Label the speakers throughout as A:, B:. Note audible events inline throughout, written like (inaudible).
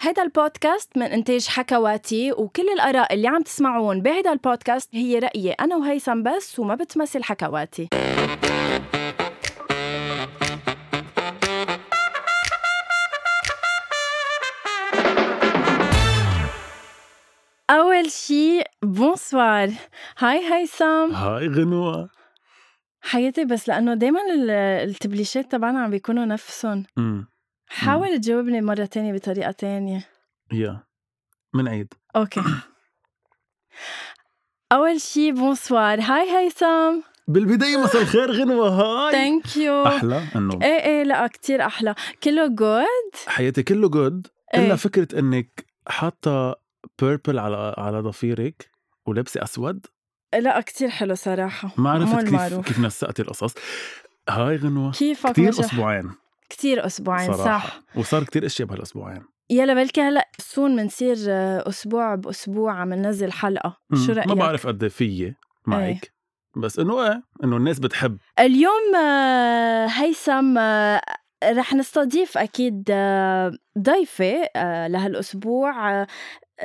A: هيدا البودكاست من إنتاج حكواتي وكل الآراء اللي عم تسمعون بهيدا البودكاست هي رأيي أنا وهيثم بس وما بتمثل حكواتي أول شي بونسوار هاي هيثم
B: هاي غنوة
A: حياتي بس لأنه دايما ال- التبليشات تبعنا عم بيكونوا نفسهم
B: امم
A: حاول تجاوبني مرة تانية بطريقة تانية
B: يا منعيد
A: اوكي اول شي بونسوار هاي هيثم
B: بالبداية مساء الخير غنوة هاي
A: ثانك يو
B: أحلى إنه
A: ايه ايه لا كتير احلى كله جود
B: حياتي كله جود
A: إيه.
B: إلا فكرة إنك حاطة بيربل على على ضفيرك ولابسة أسود
A: لا كتير حلو صراحة
B: ما
A: مو
B: عرفت كيف
A: المعروف.
B: كيف نسقتي القصص هاي غنوة
A: كيفك
B: كتير
A: مجح؟
B: أسبوعين
A: كتير اسبوعين
B: صراحة
A: صح
B: وصار كتير أشياء بهالأسبوعين
A: يلا بلكي هلا سون منصير آه، اسبوع باسبوع عم ننزل حلقة
B: مم.
A: شو رأيك؟ إيه.
B: ما بعرف قد إيه في معك بس إنه إيه إنه الناس بتحب
A: اليوم آه، هيثم آه، رح نستضيف اكيد آه، ضيفه آه، لهالاسبوع آه،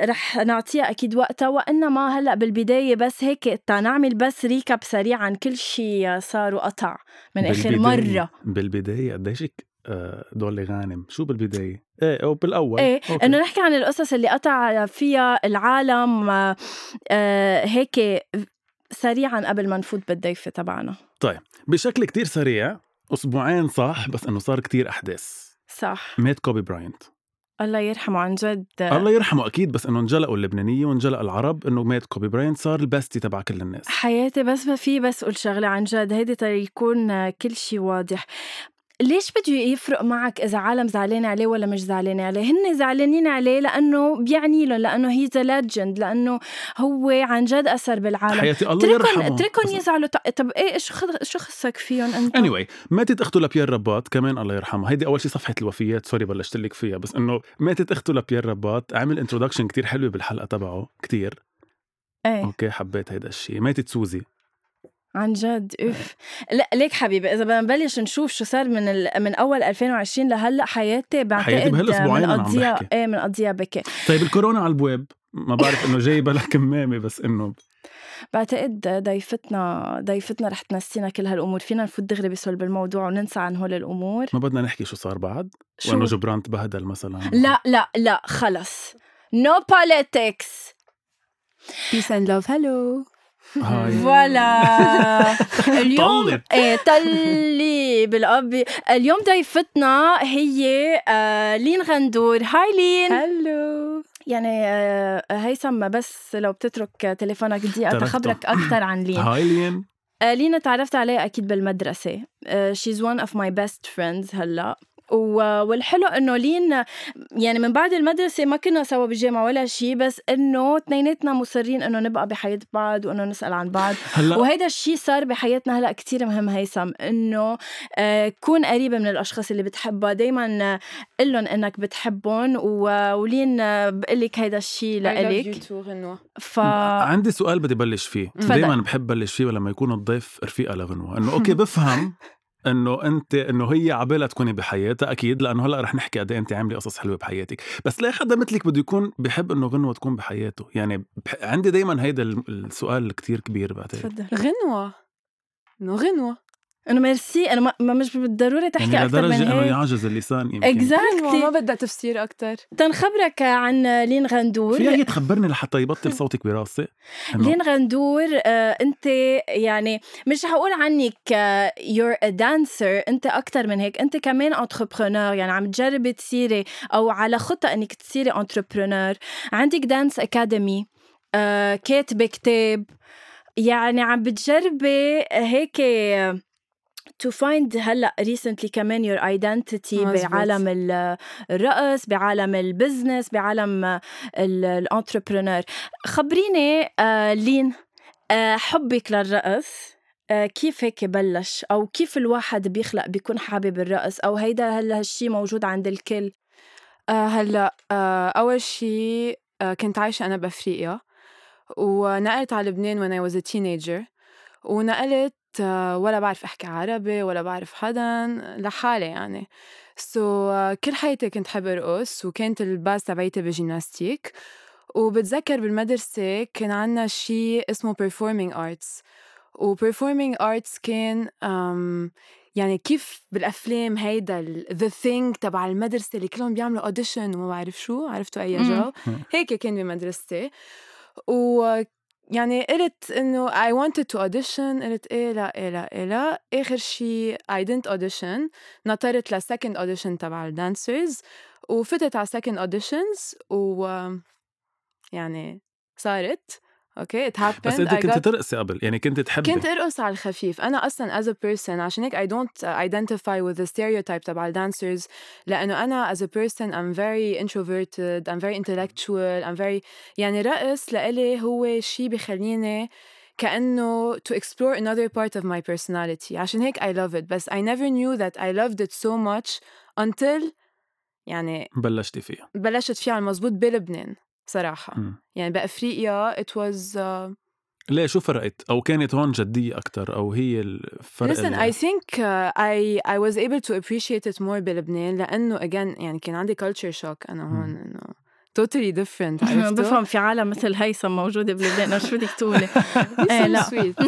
A: رح نعطيها اكيد وقتها وانما هلا بالبدايه بس هيك تا نعمل بس ريكاب سريع عن كل شيء صار وقطع من اخر
B: بالبداية-
A: مره
B: بالبداية قديش دولي غانم شو بالبداية؟ ايه او بالاول
A: إيه،
B: أوكي.
A: انه نحكي عن القصص اللي قطع فيها العالم آه، آه، هيك سريعا قبل ما نفوت بالضيفه تبعنا
B: بشكل كتير سريع اسبوعين صح بس انه صار كتير احداث
A: صح
B: مات كوبي براينت
A: الله يرحمه عن جد
B: الله يرحمه اكيد بس انه انجلقوا اللبنانيه وانجلق العرب انه مات كوبي براينت صار البستي تبع كل الناس
A: حياتي بس ما في بس قول شغلة عن جد هيدي تا يكون كل شي واضح ليش بده يفرق معك إذا عالم زعلانة عليه ولا مش زعلانة عليه؟ هن زعلانين عليه لأنه بيعني لهم لأنه هي ذا ليجند لأنه هو عن جد أثر بالعالم
B: حياتي الله يرحمه
A: اتركهم اتركهم يزعلوا ط- طب ايه شو خد- شو خصك فيهم انت؟
B: anyway ماتت اخته لبيير رباط كمان الله يرحمها هيدي اول شيء صفحه الوفيات سوري بلشت لك فيها بس انه ماتت اخته لبيير رباط عمل انتروداكشن كتير حلو بالحلقه تبعه كتير
A: ايه
B: اوكي حبيت هيدا الشيء ماتت سوزي
A: عن جد اوف لا ليك حبيبي اذا بدنا نبلش نشوف شو صار من ال... من اول 2020 لهلا حياتي بعتقد
B: بهالأسبوعين
A: من
B: أنا عم
A: قضية
B: بحكي.
A: ايه من قضية بكي
B: طيب الكورونا على البواب ما بعرف انه جاي بلا كمامه بس انه
A: بعتقد ضيفتنا ضيفتنا رح تنسينا كل هالامور فينا نفوت دغري بصلب الموضوع وننسى عن هول الامور
B: ما بدنا نحكي شو صار بعد
A: شو
B: وانه جبران تبهدل مثلا
A: لا لا لا خلص نو بوليتكس
C: بيس اند لوف هلو
B: هاي (laughs)
A: فوالا اليوم
B: طلت.
A: ايه طلي بالأبي اليوم ضيفتنا هي آه لين غندور هاي لين
C: هلو
A: يعني آه هيثم بس لو بتترك تليفونك دقيقه
B: تركته.
A: تخبرك اكثر عن لين
B: هاي لين
A: آه، لينا تعرفت عليها اكيد بالمدرسه شيز ون اوف ماي بيست فريندز هلا و- والحلو انه لين يعني من بعد المدرسه ما كنا سوا بالجامعه ولا شيء بس انه اثنيناتنا مصرين انه نبقى بحياه بعض وانه نسال عن بعض
B: هلا
A: وهيدا الشيء صار بحياتنا هلا كتير مهم هيثم انه آه، كون قريبه من الاشخاص اللي بتحبها دائما قلهم انك بتحبهم و- ولين آه، بقلك هيدا الشيء لإلك
C: غنوة
A: ف
B: عندي سؤال بدي بلش فيه
A: تفضل.
B: دائما بحب بلش فيه لما يكون الضيف رفيقه لغنوه انه اوكي
A: (laughs)
B: بفهم انه انت انه هي عبالها تكوني بحياتها اكيد لانه هلا رح نحكي قد إيه انت عامله قصص حلوه بحياتك بس ليه حدا مثلك بده يكون بحب انه غنوه تكون بحياته يعني بح... عندي دائما هيدا ال- السؤال كتير كبير بعتقد
A: تفضل
C: غنوة انه غنوة
A: انه ميرسي انا ما- ما مش بالضروره تحكي
B: يعني
A: اكثر من
B: لدرجه انه
A: هيك
B: يعجز اللسان يمكن
C: غنوة
A: اكزاكتلي
C: أيوة، ما بدها تفسير اكتر
A: تنخبرك عن لين غندور
B: فيها هي تخبرني لحتى يبطل
A: (laughs)
B: صوتك براسي إنه
A: لين غندور آه، انت يعني مش هقول عنك آه، يور ا دانسر انت اكثر من هيك انت كمان انتربرونور يعني عم تجربي تصيري او على خطه انك تصيري انتربرونور عندك دانس اكاديمي كاتبه كتاب يعني عم بتجربي هيك تو فايند هلا ريسنتلي كمان يور ايدنتيتي
C: مزبوط.
A: بعالم ال- الرقص بعالم البزنس بعالم الانتربرونور خبريني آه، لين آه، حبك للرقص آه، كيف هيك بلش او كيف الواحد بيخلق بيكون حابب الرقص او هيدا هلا هالشي موجود عند الكل
C: آه هلا آه اول شيء آه كنت عايشة انا بافريقيا ونقلت على لبنان وانا was a teenager ونقلت آه ولا بعرف احكي عربي ولا بعرف حدا لحالي يعني سو so, uh, كل حياتي كنت حب ارقص وكانت الباس تبعيتي بالجيمناستيك وبتذكر بالمدرسة كان عنا شيء اسمه performing arts و performing arts كان um, يعني كيف بالافلام هيدا ال- the thing تبع المدرسه اللي كلهم بيعملوا اوديشن وما بعرف شو عرفتوا اي
A: مم.
C: جو هيك كان بمدرستي و يعني قلت انه I wanted to audition قلت ايه لا ايه لا ايه لا اخر شيء I didn't audition نطرت لسكند audition تبع الدانسرز وفتت على second auditions و يعني صارت اوكي it happened
B: بس انت
C: I got
B: كنت ترقصي قبل يعني كنت تحبي
C: كنت ارقص على الخفيف انا اصلا as a person عشان هيك I don't identify with the stereotype تبع الدانسرز لانه انا as a person I'm very introverted I'm very intellectual I'm very يعني رقص لإلي هو شيء بخليني كأنه to explore another part of my personality عشان هيك I love it بس I never knew that I loved it so much until يعني
B: بلشتي فيها
C: بلشت فيه على المزبوط بلبنان صراحة
B: مم.
C: يعني بأفريقيا it was uh,
B: ليه شو فرقت او كانت هون جديه اكثر او هي الفرق
C: Listen,
B: اللي-
C: I think uh, I I was able to appreciate it more بلبنان لأنه again يعني كان عندي culture shock أنا هون إنه totally
A: (laughs)
C: different (laughs) عرفتوا؟
A: بفهم في عالم مثل هيثم موجوده بلبنان شو بدك
C: (laughs)
A: تقولي إيه،
C: so
A: (laughs) لا.
C: sweet.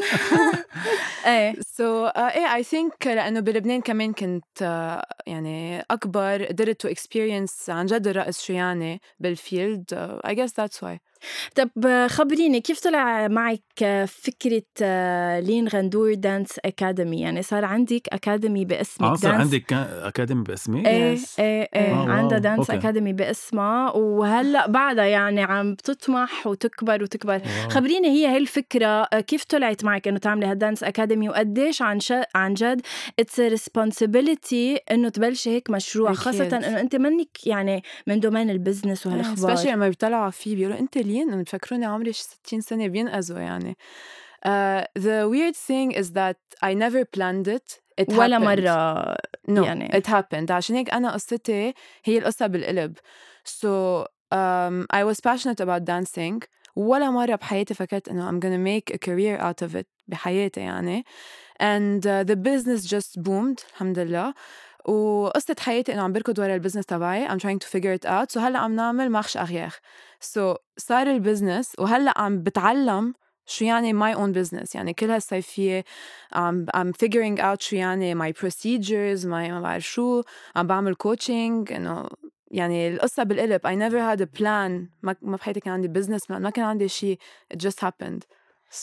A: ايه
C: so uh, إيه I think لأنه بلبنان كمان كنت uh, يعني أكبر قدرت to experience عن جد الرقص شو يعني بالفيلد uh, I guess that's why.
A: طب خبريني كيف طلع معك فكرة آه، لين غندور دانس أكاديمي يعني صار عندك أكاديمي باسمك
B: اه صار
A: دانس-
B: عندك كان- اكاديمي باسمي
A: ايه
C: Yes.
A: ايه
C: آه،
A: ايه عندها
B: واو،
A: دانس
B: أوكي.
A: أكاديمي باسمها وهلأ بعدها يعني عم بتطمح وتكبر وتكبر
C: آه.
B: واو.
A: خبريني هي هي الفكرة آه، كيف طلعت معك إنه تعملي هالدانس أكاديمي وقديش عن شا... عن جد اتس ريسبونسبيلتي إنه تبلشي هيك مشروع
C: أكيد. آه،
A: خاصة إنه أنت منك يعني من دومين البزنس وهالأخبار
C: سبيشلي لما بيطلعوا فيه بيقولوا انت لين انه بفكروني عمري شي 60 سنه بينقذوا يعني uh, the weird thing is that I never planned it It
A: ولا
C: happened.
A: مرة
C: no,
A: يعني.
C: it happened عشان هيك أنا قصتي هي القصة بالقلب so um, I was passionate about dancing ولا مرة بحياتي فكرت إنه I'm gonna make a career out of it بحياتي يعني and uh, the business just boomed الحمد لله وقصة حياتي إنه عم بركض ورا البزنس تبعي I'm trying to figure it out so هلا عم نعمل مارش أغياغ so صار البزنس وهلا عم بتعلم شو يعني my own business يعني كل هالصيفية I'm, I'm figuring out شو يعني my procedures my ما بعرف شو عم بعمل coaching انه يعني القصة بالقلب I never had a plan ما, ما بحياتي كان عندي business plan ما كان عندي شيء it just happened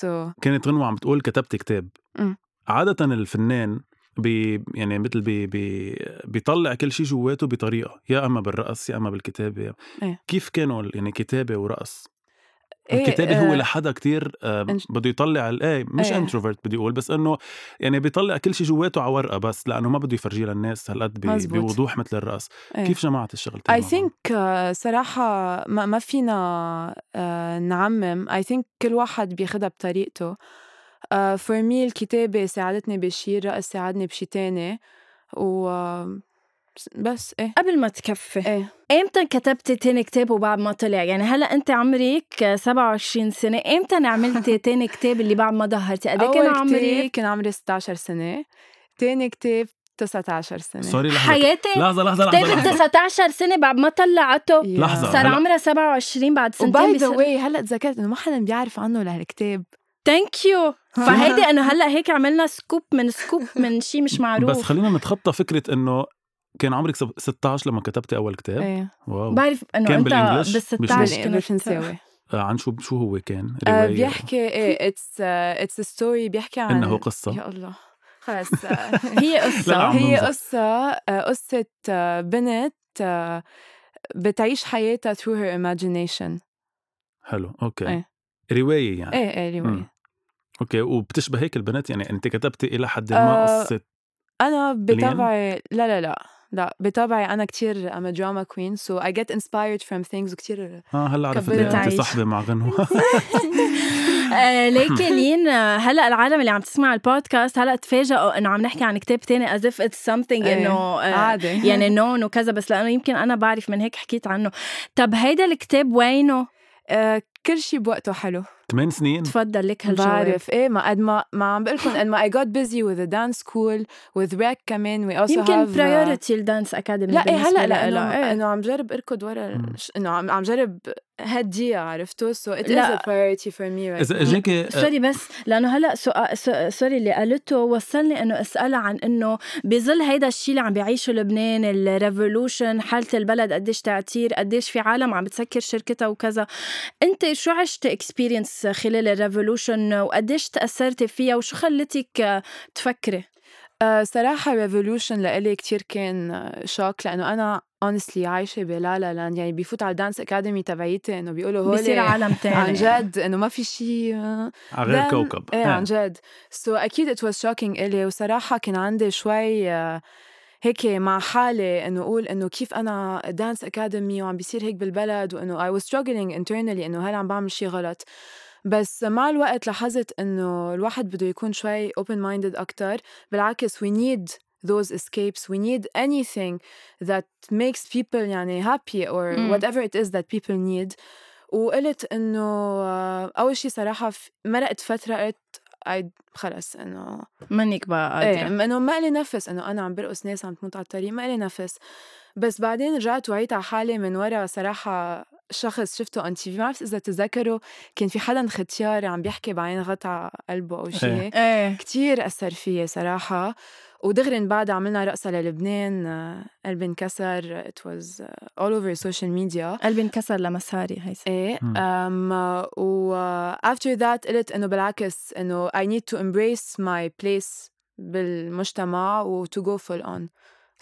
C: so
B: كانت غنوه عم بتقول كتبت كتاب
C: مم.
B: عاده الفنان بي يعني مثل بي بي بيطلع كل شيء جواته بطريقه يا اما بالرقص يا اما بالكتابه
C: إيه.
B: كيف كانوا ال- يعني كتابه ورقص
C: إيه،
B: الكتابه هو
C: آه،
B: لحدا كتير آه،
C: إنش-
B: بده يطلع ال- ايه مش
C: إيه.
B: انتروفيرت بدي اقول بس انه يعني بيطلع كل شيء جواته على ورقه بس لانه ما بده يفرجيه للناس هالقد بي-
C: مزبوط.
B: بوضوح مثل الرقص
C: إيه.
B: كيف جمعت الشغلتين
C: I
B: مع بعض؟
C: think uh, صراحة ما, ما فينا uh, نعمم I think كل واحد بياخدها بطريقته uh, for me الكتابة ساعدتني بشي الرقص ساعدني بشي تاني و uh, بس ايه
A: قبل ما تكفي
B: إيه.
C: ايه
A: امتى كتبتي تاني كتاب وبعد ما طلع يعني هلا انت عمرك 27 سنه امتى
C: (laughs)
A: عملتي تاني كتاب اللي بعد ما ظهرتي قد إيه كان
C: أول كتاب
A: عمرك
C: كان عمري 16 سنة تاني كتاب 19 سنة
B: سوري لحظه
A: حياتي
B: لحظه لحظه لحظه,
A: كتاب
B: لحظة.
A: 19 سنه بعد ما طلعته
C: Yeah.
B: لحظة.
A: صار
B: هلأ.
A: عمرها 27 بعد
C: وباي
A: سنتين
C: ذا واي هلا تذكرت انه ما حدا بيعرف عنه لهالكتاب
A: ثانك يو فهيدي انه هلا هيك عملنا سكوب من سكوب من شيء مش
B: بس
A: معروف
B: خلينا نتخطى فكره انه كان عمرك سب- 16 لما كتبتي اول كتاب
C: ايه
B: واو
A: بعرف انه
B: كان
A: انت
B: بالإنجليش؟
A: بال 16
B: بالإنجليش؟
A: كنت-
B: (laughs)
C: بالفرنساوي
B: آه، عن شو شو هو كان
C: آه،
B: روايه
C: بيحكي ايه (laughs) اتس اتس ستوري بيحكي عن
B: انه قصه
C: يا الله خلص آه،
A: هي
B: (laughs) لا، لا،
A: قصه
B: عم
A: هي
C: هي
B: نمزح.
C: قصة آه، قصة آه، بنت آه، بتعيش حياتها through her imagination
B: حلو اوكي
C: إيه.
B: روايه يعني
C: ايه ايه
B: مم.
C: رواية
B: اوكي وبتشبه هيك البنات يعني انت كتبتي الى حد ما
C: آه،
B: قصه
C: أنا بطبعي لا لا لا لا بطبعي أنا كتير I'm a drama queen so I get inspired from things وكتير
B: اه هلا عرفت
C: كبرت
B: ليه انت
A: عيش.
B: صاحبه مع
C: (laughs)
B: (laughs) غنوه
A: آه،
B: (laughs)
A: ليكي لين آه، هلا العالم اللي عم تسمع البودكاست هلا تفاجئوا انه عم نحكي عن كتاب تاني as if it's something
C: إيه،
A: انه آه،
C: عادي (laughs)
A: يعني نون وكذا بس لانه يمكن انا بعرف من هيك حكيت عنه طب هيدا الكتاب وينه
C: آه، كل شيء بوقته حلو
B: ثمان سنين
A: تفضل لك هالجواب
C: بعرف ايه ما قد ما ما عم بقول لكم قد ما I got busy with the dance school with rec كمان we also
A: يمكن
C: have آه،
A: priority الدانس اكاديمي
C: لا ايه
A: بالنسبة
C: هلا لا
A: لإلها.
C: انه
A: إيه.
C: انه عم جرب اركض ورا
B: مم.
C: ش- انه عم عم جرب هدية عرفتوا so it is
A: لا.
C: a priority for me right
B: اذا
C: now.
B: اجاك
C: (laughs)
A: سوري بس لانه هلا سؤال سو- سوري اللي قالته وصلني انه اسالها عن انه بظل هيدا الشيء اللي عم بيعيشه لبنان الريفولوشن حاله البلد قديش تعتير قديش في عالم عم بتسكر شركتها وكذا انت شو عشت اكسبيرينس خلال الريفولوشن وقديش تاثرتي فيها وشو خلتك آه، تفكري
C: آه، صراحة ريفولوشن لإلي كتير كان آه، شوك لأنه أنا honestly عايشة بلا لا لاند يعني بفوت على الدانس أكاديمي تبعيتي إنه بيقولوا هول
A: بصير
C: (laughs)
A: عالم تاني
C: عن جد إنه ما في شيء آه،
B: على غير
C: then-
B: كوكب آه.
C: إيه عن جد سو so, أكيد ات واز شوكينج إلي وصراحة كان عندي شوي آه، هيك مع حالي انه اقول انه كيف انا دانس اكاديمي وعم بيصير هيك بالبلد وانه اي was struggling internally انه هل عم بعمل شيء غلط بس مع الوقت لاحظت انه الواحد بده يكون شوي open minded اكثر بالعكس we need those escapes we need anything that makes people يعني happy or
A: مم.
C: whatever it is that people need وقلت انه آه، اول شيء صراحه ف- مرقت فتره قلت I- خلص انه
A: منك بقى
C: ايه
A: قادرة.
C: انه ما لي نفس انه انا عم برقص ناس عم تموت على الطريق ما لي نفس بس بعدين رجعت وعيت على حالي من ورا صراحه شخص شفته اون تي في ما بعرف اذا تذكروا كان في حدا ختيار عم بيحكي بعين غطا قلبه او شيء
B: إيه.
C: هيك
A: ايه
C: كتير أثر فيي صراحة ودغري من بعد عملنا رقصة للبنان آه، قلبي انكسر it was آه، all over social media
A: قلبي انكسر لمساري هيثم
C: ايه
B: مم.
C: أم و آه، after that قلت انه بالعكس انه I need to embrace my place بالمجتمع و to go full on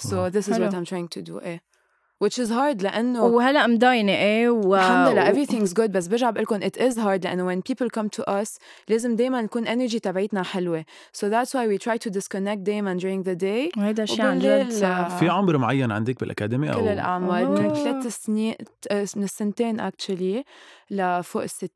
C: so
B: واو.
C: this is
A: حلو.
C: what I'm trying to do ايه which is hard لأنه
A: وهلا مضاينه ايه و...
C: الحمد لله
A: و-
C: everything's good بس برجع بقول لكم it is hard لانه when people come to us لازم دائما نكون energy تبعتنا حلوه so that's why we try to disconnect دائما during the day
A: وهيدا الشيء عن جد آه.
C: وبالليل-
A: صعب
B: في عمر معين عندك بالاكاديمي
C: كل
B: او
C: الاعمار من
A: آه.
C: ثلاث سنين آه، من السنتين actually لفوق ال 60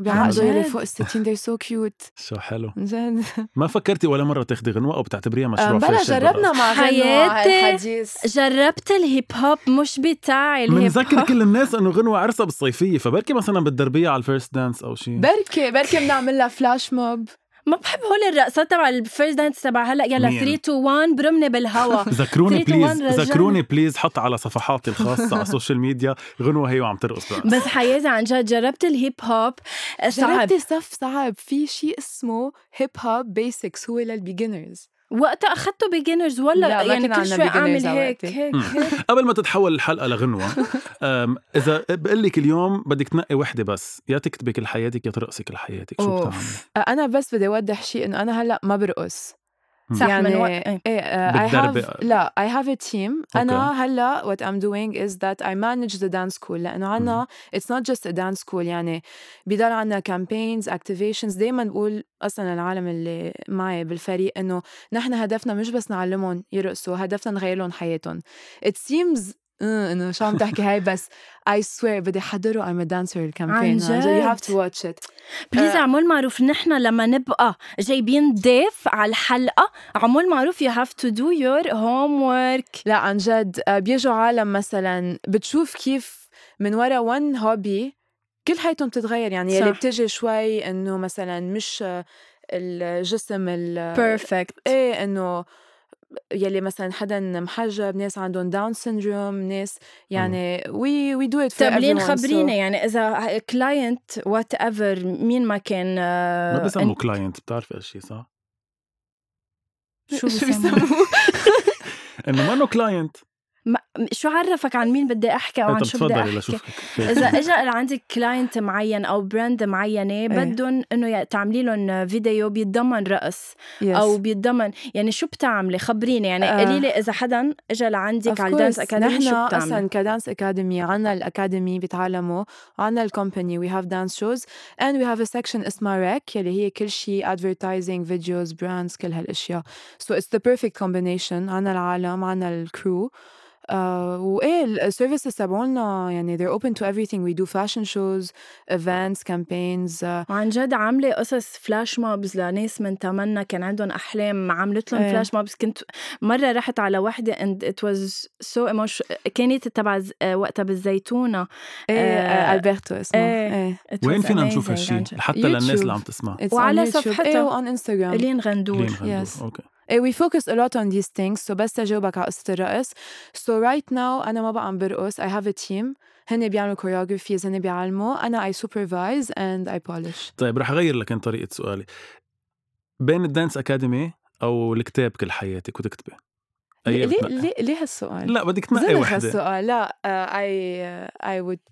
A: عن
C: بيعقدوا يلي
A: جد؟
C: فوق ال 60 they're so cute
B: شو حلو
C: عن جد
B: ما فكرتي ولا مره تاخذي غنوه او بتعتبريها مشروع
C: آه، بلا
B: فاشل
C: جربنا مع غنوة
A: حياتي
C: هالحديث
A: جربت الهيب هوب مش بتاعي الهيب
B: بنذكر
A: هوب
B: كل الناس انه غنوه عرسها بالصيفيه فبركي مثلا بتدربيها على الفيرست دانس او شيء
C: بركي بركي بنعمل لها فلاش موب
A: ما بحب هول الرقصات تبع الفيرست دانس تبع هلا يلا
B: مين؟
A: 3 2 1 برمني بالهوا
B: ذكروني
A: 3 to 1
B: بليز
A: رجعنا.
B: ذكروني بليز حط على صفحاتي الخاصه على السوشيال ميديا غنوه هي وعم ترقص دانس.
A: بس حياتي عن جد جربت الهيب هوب آه، صعب
C: جربتي صف صعب في شيء اسمه هيب هوب بيسكس هو للبيجنرز
A: وقتها اخذته بيجنرز ولا
C: لا، ما
A: يعني
C: كان
A: كل
C: عنا
A: شوي اعمل
C: beginners
A: هيك
C: وقتها.
A: هيك
B: مم. قبل ما تتحول الحلقه لغنوه أم، اذا بقول لك اليوم بدك تنقي وحده بس يا تكتبي كل حياتك يا ترقصي كل حياتك شو
A: أوف.
B: بتعملي
C: انا بس بدي اوضح شيء انه انا هلا ما برقص
B: مم.
A: صح من
C: يعني-
A: وقت إيه.
C: ايه uh, I
B: بتدربي.
C: have لا I have a team
B: أوكي.
C: okay. انا هلا what I'm doing is that I manage the dance school لانه عنا it's not just a dance school يعني بضل عنا campaigns activations دائما بقول اصلا العالم اللي معي بالفريق انه نحن هدفنا مش بس نعلمهم يرقصوا هدفنا نغير لهم حياتهم it seems آه، انه شو عم تحكي هاي بس I swear بدي احضره I'm a dancer الكامبين you
A: جد.
C: have to watch it
A: بليز
C: آه.
A: عمول معروف نحن لما نبقى جايبين ضيف على الحلقه عمول معروف يو هاف تو دو يور هوم ورك
C: لا عن جد آه، بيجوا عالم مثلا بتشوف كيف من ورا ون هوبي كل حياتهم بتتغير يعني يلي
A: صح.
C: بتجي شوي انه مثلا مش آه، الجسم ال
A: بيرفكت
C: ايه انه يلي مثلا حدا محجب ناس عندهم داون سيندروم ناس يعني وي وي دو ات
A: طيب لين
C: (laughs)
A: خبريني يعني اذا كلاينت وات ايفر مين ما كان آه،
B: ما بسموه
A: إن-
B: كلاينت بتعرفي هالشيء صح؟
A: شو
C: شو
A: بسموه
C: بيسموه
B: انه ما انه كلاينت
A: (laughs) شو عرفك عن مين بدي احكي او
B: إيه، طب
A: عن شو بدي
B: تفضلي
A: احكي
B: لشوفك
A: اذا
B: (laughs)
A: اجى عندك كلاينت معين او براند
C: إيه.
A: معينه بدهم انه تعملي لهم فيديو بيتضمن رقص او
C: او
A: بيتضمن يعني شو بتعملي خبريني يعني
C: آه.
A: قولي لي اذا حدا اجى لعندك على الدانس اكاديمي
C: نحن
A: شو
C: اصلا
A: بتعملي
C: كدانس اكاديمي عنا الاكاديمي بيتعلموا عنا الكومباني وي هاف دانس شوز اند وي هاف ا سكشن اسمها ريك يلي هي كل شيء ادفرتايزنج فيديوز براندز كل هالاشياء سو اتس ذا بيرفكت كومبينيشن عنا العالم عنا الكرو آه، وايه السيرفيسز تبعولنا يعني they're open to everything we do fashion shows events campaigns آه،
A: وعن جد عامله قصص فلاش مobs لناس من تمنا كان عندهم احلام عملت لهم
C: إيه.
A: فلاش مobs كنت مره رحت على وحده and it was so emotional كانت تبع ز- آه، وقتها بالزيتونه
C: ايه
A: آه،
C: آه، البرتو اسمه
A: إيه.
C: ايه
A: It
B: وين
A: was
B: فينا
A: amazing
B: نشوف هالشيء
A: عن جد.
B: حتى للناس
C: يوتيوب.
B: اللي عم تسمع
C: It's
A: وعلى
C: on YouTube.
A: صفحتها.
C: ايه وعن انستغرام
A: الين غندور
B: لين غندور.
C: Yes.
B: اوكي
C: ايه Eh, we focus a lot on these things so بس اجاوبك على قصه الرقص so right now انا ما بقى عم برقص I have a team هن بيعملوا choreographies هن بيعلموا انا I supervise and I polish
B: طيب رح اغير لك أنا طريقه سؤالي بين الدانس اكاديمي او الكتاب كل حياتك وتكتبي
C: ليه
B: أي
C: ليه
B: بتنقي؟
C: ليه- ليه هالسؤال؟
B: لا بدك تنقي
C: زلخ
B: وحده
C: هالسؤال لا uh, I uh, I would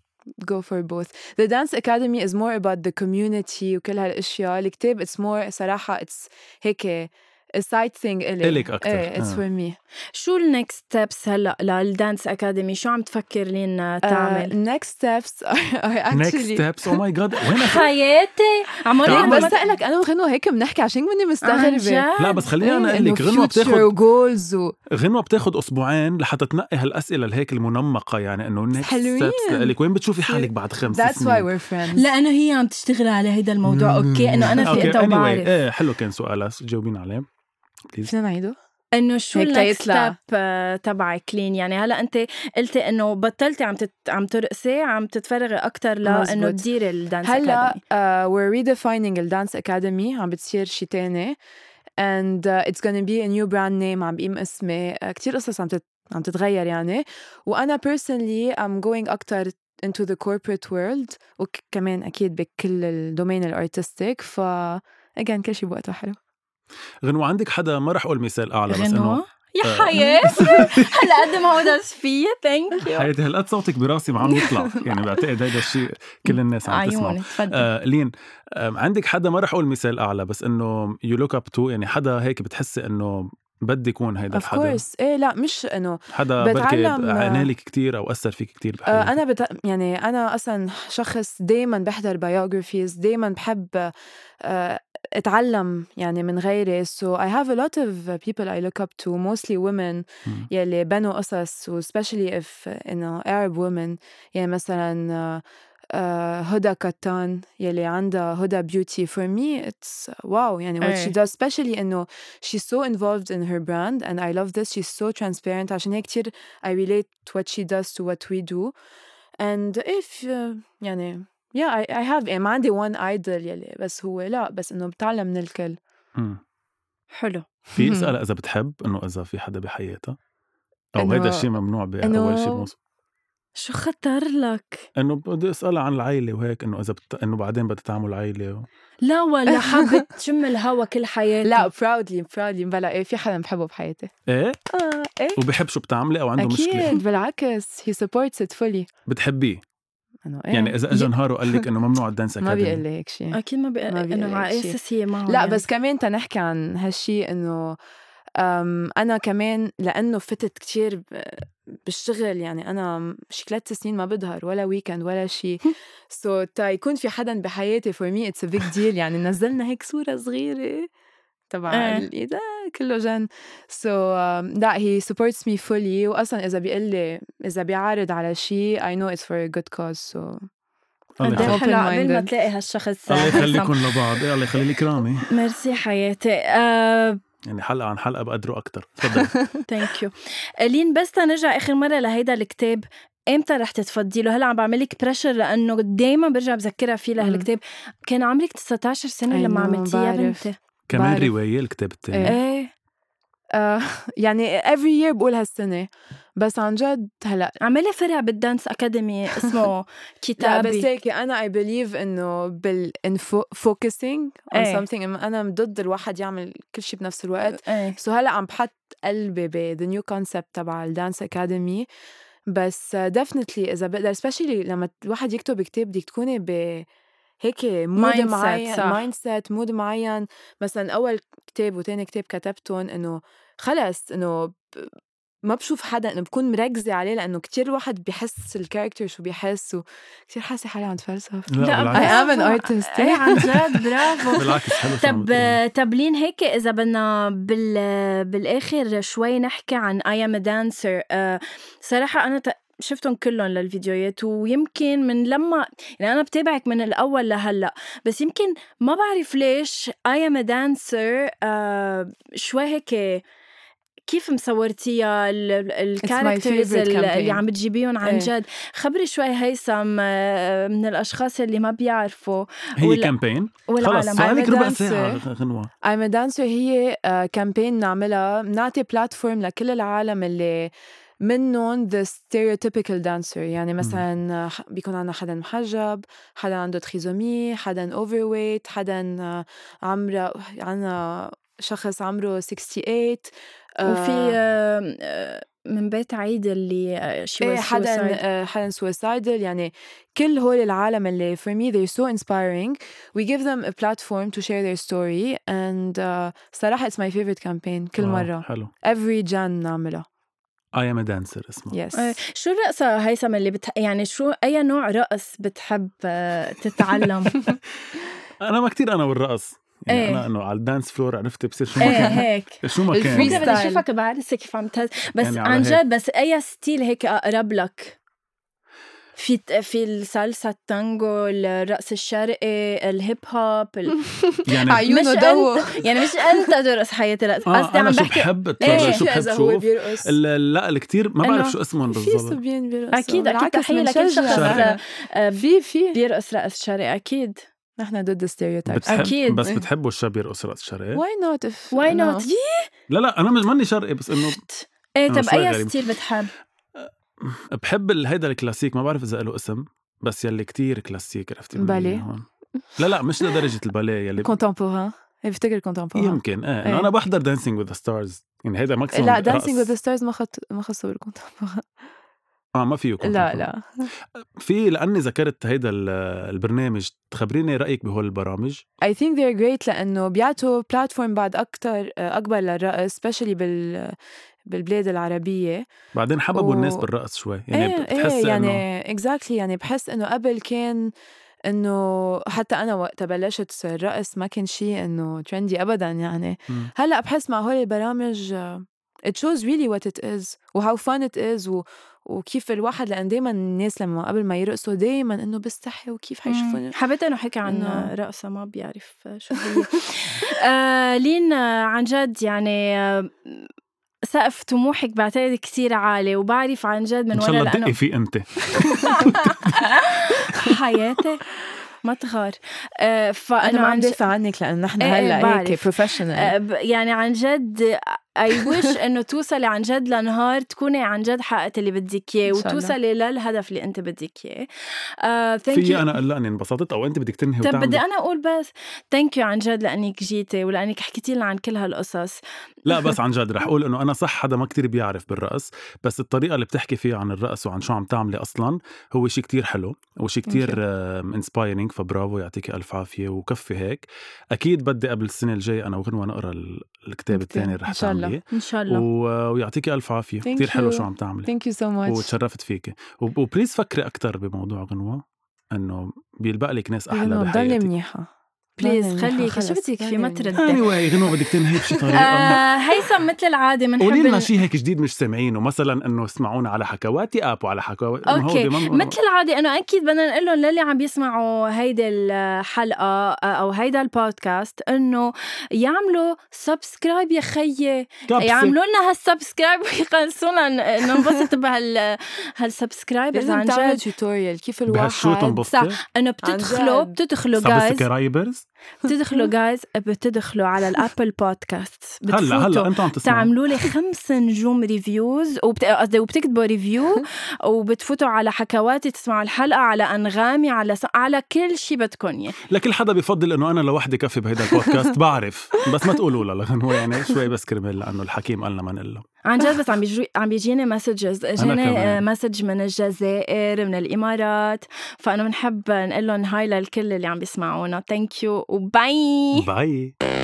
C: go for both the dance academy is more about the community وكل هالاشياء الكتاب it's more صراحه it's هيك a side thing إلي
B: إلك أكتر.
C: ايه it's
B: آه.
C: for me
A: شو النكست ستبس هلا للدانس اكاديمي شو عم تفكر
B: آه،
A: لين آه،
C: uh,
A: تعمل
C: next steps (laughs) are, are
B: نيكست
C: actually
B: ستيبس او ماي جاد وين
C: (laughs)
B: أخ-
A: حياتي
B: تعال.
A: عمري
C: ليه
A: ما
C: بس اسالك انا وغنوه هيك بنحكي عشان مني
A: عن
C: مستغربه
A: جد؟
B: لا بس
C: إيه،
B: خليني انا اقول لك غنوه بتاخذ
C: وجولز و...
B: غنوه بتاخذ اسبوعين لحتى تنقي هالاسئله الهيك المنمقه يعني انه النكست
C: حلوين.
B: ستيبس لك وين بتشوفي حالك بعد خمس
C: That's why
B: سنين
C: we're friends
A: لانه هي عم تشتغل على هيدا الموضوع اوكي انه انا في
B: أوكي،
A: انت
B: anyway،
A: وبعرف
B: ايه حلو كان سؤالها جاوبين عليه
C: فينا نعيده؟
A: انه شو
C: هيك
A: النكست
C: تيطلع.
A: ستيب تبعك لين يعني هلا انت قلتي انه بطلتي عم تت... عم ترقصي عم تتفرغي اكثر لانه
C: مزبوط.
A: تديري الدانس
C: هلا
A: Academy.
C: uh, we're redefining الدانس اكاديمي عم بتصير شيء تاني and uh, it's gonna be a new brand name عم بقيم اسمي uh, كتير قصص عم تت... عم تتغير يعني وانا personally I'm going اكتر into the corporate world وكمان اكيد بكل الدومين الارتستيك ف again كل شيء بوقته حلو
B: غنوه عندك حدا ما رح اقول مثال اعلى بس انه
A: غنوة يا
B: آه.
A: (laughs)
B: (laughs)
A: حياتي هلا قد ما هودس فيي ثانك يو
B: حياتي هالقد صوتك براسي ما عم
C: (laughs)
B: يطلع يعني بعتقد هذا الشيء كل الناس عم تسمعه
A: عيوني تفضل
B: آه لين آه عندك حدا ما رح اقول مثال اعلى بس انه يو لوك اب تو يعني حدا هيك بتحسي انه بدي يكون هيدا
C: of
B: الحدا
C: course ايه لا مش انه
B: حدا بركي
C: بتعلم-
B: عنالك كتير او اثر فيك كتير
C: آه،
B: بحياتك
C: انا بت... يعني انا اصلا شخص دائما بحضر بايوغرافيز دائما بحب آه، اتعلم يعني من غيري so I have a lot of people I look up to mostly women
B: مم.
C: يلي بنوا قصص و especially if انه Arab women يعني مثلا آه، آه، هدى كتان يلي عندها هدى بيوتي for me it's wow يعني what
A: إيه.
C: she does especially انه she's so involved in her brand and I love this she's so transparent عشان هيك كتير I relate what she does to what we do and if uh, يعني yeah I, I have يعني ما عندي one idol يلي بس هو لا بس انه بتعلم من الكل (laughs)
B: مم.
A: حلو
B: في اسألها اذا بتحب انه اذا في حدا بحياتها او
C: إنه-
B: هيدا الشيء ممنوع باول شيء
C: إنه-
B: بموصف
A: شو خطر لك؟
B: انه بدي اسالها عن العيله وهيك انه اذا بت... انه بعدين بدها تعمل عيله و...
A: لا
C: (laughs)
A: ولا حابة تشم الهوا كل حياتي
C: لا proudly proudly بلا ايه في حدا بحبه بحياتي
B: ايه
C: اه ايه
B: وبحب شو بتعملي او عنده مشكله
C: اكيد بالعكس he supports it fully
B: بتحبيه
C: انه
A: إيه.
C: ايه
B: يعني اذا اجى
C: ي-
B: نهار
A: (laughs)
B: وقال لك انه ممنوع الدانس
C: ما بيقول
B: اكاديمي
C: لي هيك شيء
A: اكيد ما بقى
C: ما بيقلك
A: انه على
C: شي.
A: اساس هي معه
C: لا
A: يعني.
C: بس كمان تنحكي عن هالشي انه أم، انا كمان لانه فتت كتير ب- بالشغل يعني انا شي ثلاث سنين ما بظهر ولا ويكند ولا شي سو so, تا يكون في حدا بحياتي فور مي اتس بيج ديل يعني نزلنا هيك صوره صغيره تبع
A: إيه.
C: الايد آه، كله جن سو لا هي سبورتس مي فولي واصلا اذا بيقول لي اذا بيعارض على شي اي نو اتس فور ا جود كوز سو
B: الله
A: قد إيه (laughs) حلو
B: يخليك
C: يخليك.
A: قبل ما
C: Open-minded.
A: تلاقي هالشخص
B: الله
A: handsome.
B: يخليكم لبعض إيه الله يخلي لي كرامي
A: ميرسي حياتي آه،
B: يعني حلقه عن حلقه بقدروا اكثر
A: (laughs)
B: تفضل
A: ثانك يو لين بس تنرجع اخر مره لهيدا الكتاب امتى رح تتفضي له هلا عم بعملك بريشر لانه دايما برجع بذكرها فيه لهالكتاب كان عمرك 19 سنه
C: I
A: لما
C: know،
A: عملتيها
C: بعرف.
A: بنتي
B: كمان
C: بعرف.
B: روايه الكتاب الثاني
C: إيه.
A: ايه
C: آه، (laughs) يعني every year بقول هالسنه بس عن جد هلا
A: عملي فرع بالدانس اكاديمي اسمه
C: (laughs) لا بس
A: كتابي
C: هيك انا اي بليف انه بال in fo- focusing on
A: إيه.
C: something انا ضد الواحد يعمل كل شيء بنفس الوقت
A: ايه
C: سو هلا عم بحط قلبي ب the new concept تبع الدانس اكاديمي بس definitely اذا بقدر especially لما الواحد يكتب كتاب بدك تكوني ب هيك مود
A: Mindset،
C: معين
A: صح.
C: مايند سيت مود معين مثلا اول كتاب وتاني كتاب كتبتهم انه خلص انه ب- ما بشوف حدا انه بكون مركزه عليه لانه كتير الواحد بيحس الكاركتر شو بيحس وكتير حاسه حالي عم تفلسف إيه،
A: لا،
C: I
B: بالعكس
C: am (laughs)
A: برافو.
C: an artist
A: ايه عن جد
C: (laughs)
A: برافو
B: بالعكس حلو شو عم
A: طب
B: بتقولي.
A: طب لين هيك اذا بدنا بال بالاخر شوي نحكي عن اي ام دانسر صراحه انا آه، ت- شفتهم كلهم للفيديوهات ويمكن من لما يعني انا بتابعك من الاول لهلا بس يمكن ما بعرف ليش اي ام دانسر آه، شوي هيك كيف مصورتيها ال- ال- الكاركترز
C: favorite
A: ال-
C: campaign.
A: اللي عم بتجيبيهم عن
C: إيه.
A: جد خبري شوي هيثم آه، من الاشخاص اللي ما بيعرفوا
B: هي
A: ولا-
B: كامبين خلص
A: والعالم
B: صار عليك
C: I'm a
B: ربع
C: dancer.
B: ساعه غنوه
C: I'm a dancer هي آه، كامبين نعملها بنعطي بلاتفورم لكل العالم اللي منهم the stereotypical dancer يعني مثلا آه، ح- بيكون عندنا حدا محجب حدا عنده تخيزومي حدا overweight حدا آه، عمره عنا شخص عمره 68 آه،
A: وفي آم، آه، من بيت عيد اللي آه، she
C: ايه
A: was
C: حدا
A: suicide.
C: آه، حدا suicidal يعني كل هول العالم اللي for me they're so inspiring we give them a platform to share their story and uh, صراحة it's my favorite campaign كل
B: واو،
C: مرة
B: آه، حلو
C: every جان نعملها
B: اي ام دانسر اسمه
C: yes
A: آه، شو الرقصة هيثم اللي بتح... يعني شو أي نوع رقص بتحب آه،
C: (laughs)
A: تتعلم؟
B: انا ما كتير انا والرقص يعني
A: إيه.
B: انا انه على الدانس فلور عرفت بصير شو ما
C: (laughs)
A: ايه
B: كان
A: هيك (laughs)
B: شو ما
C: الفري
B: كان
A: ممكن بدي
C: ستايل.
A: اشوفك بعرسك كيف عم تهز بس
B: يعني
A: يعني
B: على
A: عن
B: هيك.
A: جد بس اي ستيل هيك اقرب لك في في السالسا التانجو الرقص الشرقي الهيب هوب
C: (laughs)
A: ال...
B: يعني
C: عيونه
A: مش
C: ضوء
A: (laughs) يعني مش انت ترقص حياتي رقص
B: آه،
A: أيوه. قصدي
B: انا
A: عم
B: شو
A: بحكي
B: بحب
A: إيه.
B: اتفرج شو بحب شوف
C: بيرقص
B: ال- لا الكتير ما بعرف
A: إنه
B: شو اسمهم
C: في
B: بالضبط
C: صبيان بيرقصوا
A: أكيد- أكيد
C: بالعكس،
A: تحية لكل
C: منشجع.
B: شخص،
A: آه، آه،
C: في في
A: بيرقص رقص شرقي اكيد
C: نحن ضد stereotypes
B: بتحب
A: أكيد.
B: بس
C: إيه.
B: بتحبوا الشاب يرقص رقص شرقي
C: why not if آه.
A: واي نوت
C: إنه-
B: لا لا انا مش ماني شرقي بس انه
A: ايه
B: أنا
A: طب
B: شوي
A: اي
B: غريب.
A: ستيل بتحب؟
B: بحب ال- هيدا الكلاسيك ما بعرف اذا له اسم بس يلي كتير كلاسيك عرفتي من
C: باليه.
B: هون لا لا مش لدرجه الباليه يلي
C: contemporain بفتكر contemporain
B: يمكن ايه, إنه
C: إيه.
B: انا بحضر دانسينج وذ ستارز يعني هيدا ماكسيموم
C: لا
B: رقص.
C: دانسينج وذ ستارز ما خط ما خصوا الكونتمبوري
B: اه ما فيه
C: لا لا
B: في لاني ذكرت هيدا ال- البرنامج تخبريني رايك بهول البرامج
C: I think they're great لأنه بيعطوا بلاتفورم بعد أكتر آه، أكبر للرقص especially بال بالبلاد العربية
B: بعدين حببوا
C: و-
B: الناس بالرقص شوي يعني
C: ايه
B: بتحس
C: ايه
B: انه
C: يعني exactly يعني بحس إنه قبل كان إنه حتى أنا وقت بلشت الرقص ما كان شيء إنه ترندي أبدا يعني
B: مم.
C: هلا بحس مع هول البرامج آه، it shows really what it is و how fun it is و وكيف الواحد لأن دايما الناس لما قبل ما يرقصوا دايما إنه بستحي وكيف حيشوفوني
A: حبيت انه حكي عن
C: إنه-
A: رقصة ما بيعرف شو هي (laughs) آه لين آه، عن جد يعني آه، سقف طموحك بعتقد كثير عالي وبعرف عن جد من
B: ان شاء
A: ورا
B: الله تدقي
A: لانه
B: فيه انت
A: (laughs) حياتي ما تغار آه فانا
C: انا ما عم
A: عن جد
C: دافع عنك لانه نحن
A: إيه، إيه،
C: هلا هيك
A: بعرف.
C: بروفيشنال
A: آه، ب- يعني عن جد اي
C: (laughs)
A: ويش انه توصلي عن جد لنهار تكوني عن جد حققتي اللي بدك اياه
C: إن شاء الله.
A: وتوصلي للهدف اللي انت بدك اياه آه thank you.
B: في انا قلقني انبسطت او انت بدك تنهي
A: طب
B: وتعملي
A: بدي انا اقول بس ثانك يو عن جد لانك جيتي ولانك حكيتي لنا عن كل هالقصص
B: لا بس عن جد رح اقول انه انا صح حدا ما كتير بيعرف بالرقص بس الطريقه اللي بتحكي فيها عن الرقص وعن شو عم تعملي اصلا هو شيء كتير حلو وشيء
C: Thank you.
B: كتير انسبايرنج فبرافو يعطيكي الف عافيه وكفي هيك اكيد بدي قبل السنه الجايه انا وغنوه نقرا ال- الكتاب
C: الكتاب.
B: الثاني اللي رح
C: إن شاء الله.
B: تعمليه
A: ان شاء الله
B: و- ويعطيكي الف عافيه
C: Thank
B: كتير حلو
C: you.
B: شو عم تعملي
C: ثانك يو سو ماتش
B: وتشرفت فيكي وب- وبليز فكري اكثر بموضوع غنوه انه بيلبق لك ناس احلى
C: ضلي
B: بحياتك
C: منيحه
A: بليز خليك شو بدك في ما
B: اني
A: تردي
B: واي غنوه بدك تنهي
C: (laughs)
B: بشي طريقه
A: آه، هيثم مثل العاده بنحب
B: قولي لنا
A: ال-
B: شيء هيك جديد مش سامعينه مثلا انه اسمعونا على حكواتي اب وعلى حكواتي إنه هو
A: اوكي
B: بمن-
A: مثل العادة انه اكيد بدنا نقول لهم للي عم يسمعوا هيدي الحلقة او هيدا البودكاست انه يعملوا سبسكرايب يا خيي
B: كبسة.
A: يعملوا لنا هالسبسكرايب ويخلصونا ن- ننبسط بهال هالسبسكرايب اذا
C: لازم
A: عن
C: تعمل
A: جد
C: توتوريال كيف
B: بهالشو
C: الواحد
B: تنبسطي
A: انه
C: عن
A: بتدخلوا
C: جد.
A: بتدخلوا جايز
B: سبسكرايبرز (laughs)
A: بتدخلوا جايز بتدخلوا على الابل بودكاست
B: هلا هلا
A: بتفوتوا
B: انتم عم تسمعوا
A: تعملوا لي خمس نجوم ريفيوز وبت- قصدي وبتكتبوا
B: (laughs)
A: ريفيو وبتفوتوا على حكواتي تسمعوا الحلقه على انغامي على س... على كل شيء بدكم اياه
B: لكل حدا بفضل انه انا لوحدي كفي بهيدا البودكاست بعرف بس ما تقولوا لها لانه هو يعني شوي بس كرمال لانه الحكيم قال لنا ما نقول له
A: عن جد بس عم
B: (laughs)
A: بيجي عم بيجيني مسجز اجاني
B: كمان.
A: مسج آه، من الجزائر من الامارات فانا بنحب نقول لهم هاي للكل اللي عم بيسمعونا ثانك يو وباي
B: باي